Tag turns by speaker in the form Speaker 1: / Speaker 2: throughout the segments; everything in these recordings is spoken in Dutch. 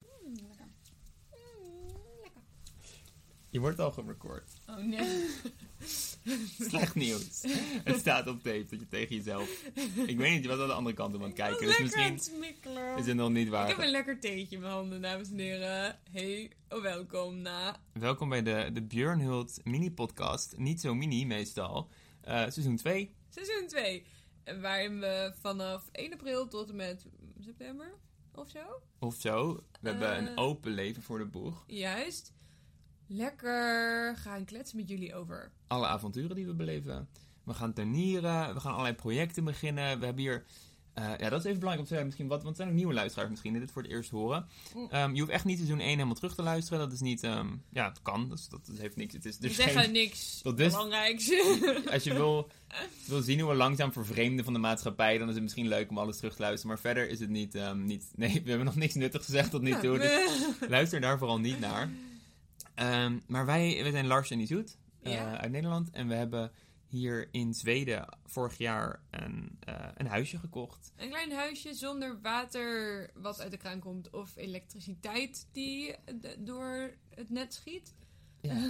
Speaker 1: Mm,
Speaker 2: Je wordt al gerecord.
Speaker 1: Oh nee.
Speaker 2: Slecht nieuws. Het staat op tape dat je tegen jezelf... Ik weet niet, je was aan de andere kant om aan het kijken. Dus
Speaker 1: lekker aan
Speaker 2: misschien
Speaker 1: het smikkelen.
Speaker 2: is het nog niet
Speaker 1: Ik
Speaker 2: waar.
Speaker 1: heb een lekker theetje in mijn handen, dames en heren. Hey, oh, welkom na.
Speaker 2: Welkom bij de, de Björn Hult mini-podcast. Niet zo mini meestal. Eh, seizoen 2.
Speaker 1: Seizoen 2. Waarin we vanaf 1 april tot en met september of zo.
Speaker 2: Of zo. We hebben een
Speaker 1: Eh.
Speaker 2: open leven voor de boeg.
Speaker 1: Juist. Lekker gaan kletsen met jullie over.
Speaker 2: Alle avonturen die we beleven. We gaan turnieren. We gaan allerlei projecten beginnen. We hebben hier... eh, ja, dat is even belangrijk om te zeggen misschien. Wat, want er zijn ook nieuwe luisteraars misschien die dit voor het eerst horen. Ehm, je hoeft echt niet seizoen 1 helemaal terug te luisteren. Dat is niet... ehm, ja, het kan. Dus dat heeft niks. Het is
Speaker 1: We
Speaker 2: dus geen-
Speaker 1: zeggen niks
Speaker 2: Tot dus-
Speaker 1: belangrijks.
Speaker 2: Als je wil, wil zien hoe we langzaam vervreemden van de maatschappij, dan is het misschien leuk om alles terug te luisteren. Maar verder is het niet. ehm, niet nee, we hebben nog niks nuttigs gezegd tot nu toe. Dus luister daar vooral niet naar. Ehm, maar wij, wij zijn Lars en Izoet eh,
Speaker 1: Ja.
Speaker 2: uit Nederland. En we hebben hier in Zweden vorig jaar een, eh, een huisje gekocht.
Speaker 1: Een klein huisje zonder water wat uit de kraan komt of elektriciteit die d- door het net schiet.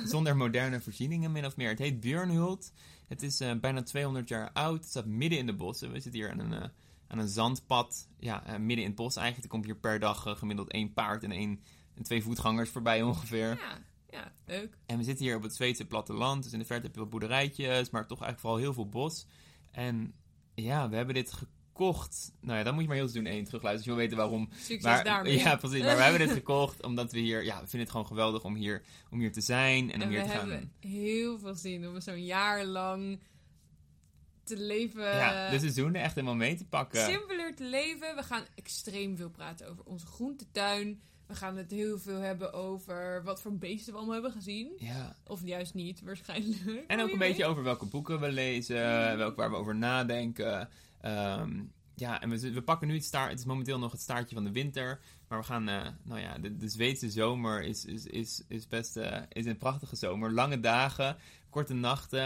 Speaker 2: Zonder moderne voorzieningen, min of meer. Het heet Björnhult. Het is eh, bijna 200 jaar oud. Het staat midden in de bossen. We zitten hier aan een, eh, aan een zandpad. Ja, eh, midden in het bos eigenlijk. Er komt hier per dag eh, gemiddeld één paard en, één, en twee voetgangers voorbij ongeveer.
Speaker 1: Ja, ja leuk.
Speaker 2: En we zitten hier op het Zweedse platteland. Dus in de verte heb je wat boerderijtjes, maar toch eigenlijk vooral heel veel bos. En ja, we hebben dit gekocht. Nou ja, dan moet je maar heel doen één terugluisteren. Als je wil weten waarom
Speaker 1: Succes
Speaker 2: maar,
Speaker 1: daarmee.
Speaker 2: Ja, precies. Maar we hebben dit gekocht omdat we hier... Ja, we vinden het gewoon geweldig om hier, om hier te zijn en om
Speaker 1: En we
Speaker 2: hier te gaan...
Speaker 1: hebben heel veel zin om zo'n jaar lang te leven.
Speaker 2: ja,
Speaker 1: eh,
Speaker 2: de seizoenen echt helemaal mee te pakken.
Speaker 1: Simpeler te leven. We gaan extreem veel praten over onze groentetuin. We gaan het heel veel hebben over wat voor beesten we allemaal hebben gezien.
Speaker 2: Ja.
Speaker 1: Of juist niet, waarschijnlijk.
Speaker 2: En ook
Speaker 1: Wie
Speaker 2: een beetje
Speaker 1: weet.
Speaker 2: over welke boeken we lezen, welk, waar we over nadenken. Ehm, ja, en we, z- we pakken nu het staart... Het is momenteel nog het staartje van de winter. Maar we gaan... eh, nou ja, de, de Zweedse zomer is, is, is, is best... eh, is een prachtige zomer. Lange dagen, korte nachten.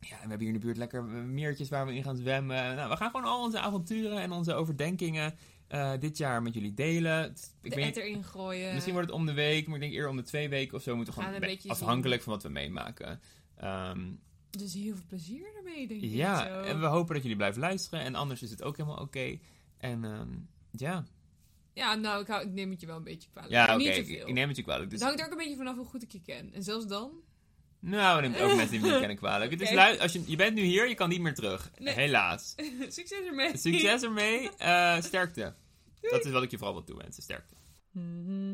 Speaker 2: Ja, en we hebben hier in de buurt lekker eh, meertjes waar we in gaan zwemmen. Nou, we gaan gewoon al onze avonturen en onze overdenkingen eh, dit jaar met jullie delen. Het- Ik
Speaker 1: de
Speaker 2: weet niet-
Speaker 1: etter ingooien.
Speaker 2: Misschien wordt het om de week, maar ik denk eerder om de twee weken of zo. Moeten we
Speaker 1: Gaan
Speaker 2: gewoon
Speaker 1: een
Speaker 2: we-
Speaker 1: beetje
Speaker 2: afhankelijk van wat we meemaken. Ehm,
Speaker 1: Dus heel veel plezier daarmee, denk ik.
Speaker 2: ja,
Speaker 1: zo.
Speaker 2: en we hopen dat jullie blijven luisteren. En anders is het ook helemaal oké. En ehm, ja,
Speaker 1: Ja, nou, ik, hou, ik neem het je wel een beetje kwalijk.
Speaker 2: ja
Speaker 1: Maar
Speaker 2: oké.
Speaker 1: niet te
Speaker 2: ik,
Speaker 1: veel.
Speaker 2: ik neem het je kwalijk. Dus,
Speaker 1: Het hangt er ook een beetje vanaf hoe goed ik je ken. En zelfs dan...
Speaker 2: Nou, we nemen het ook mensen die me niet kennen kwalijk. Het is
Speaker 1: Oké.
Speaker 2: lui- als je, je bent nu hier, je kan niet meer terug.
Speaker 1: Nee.
Speaker 2: Helaas.
Speaker 1: Succes ermee!
Speaker 2: Succes ermee. eh, sterkte. Dat is wat ik je vooral wil toewensen. Sterkte.
Speaker 1: Mhm.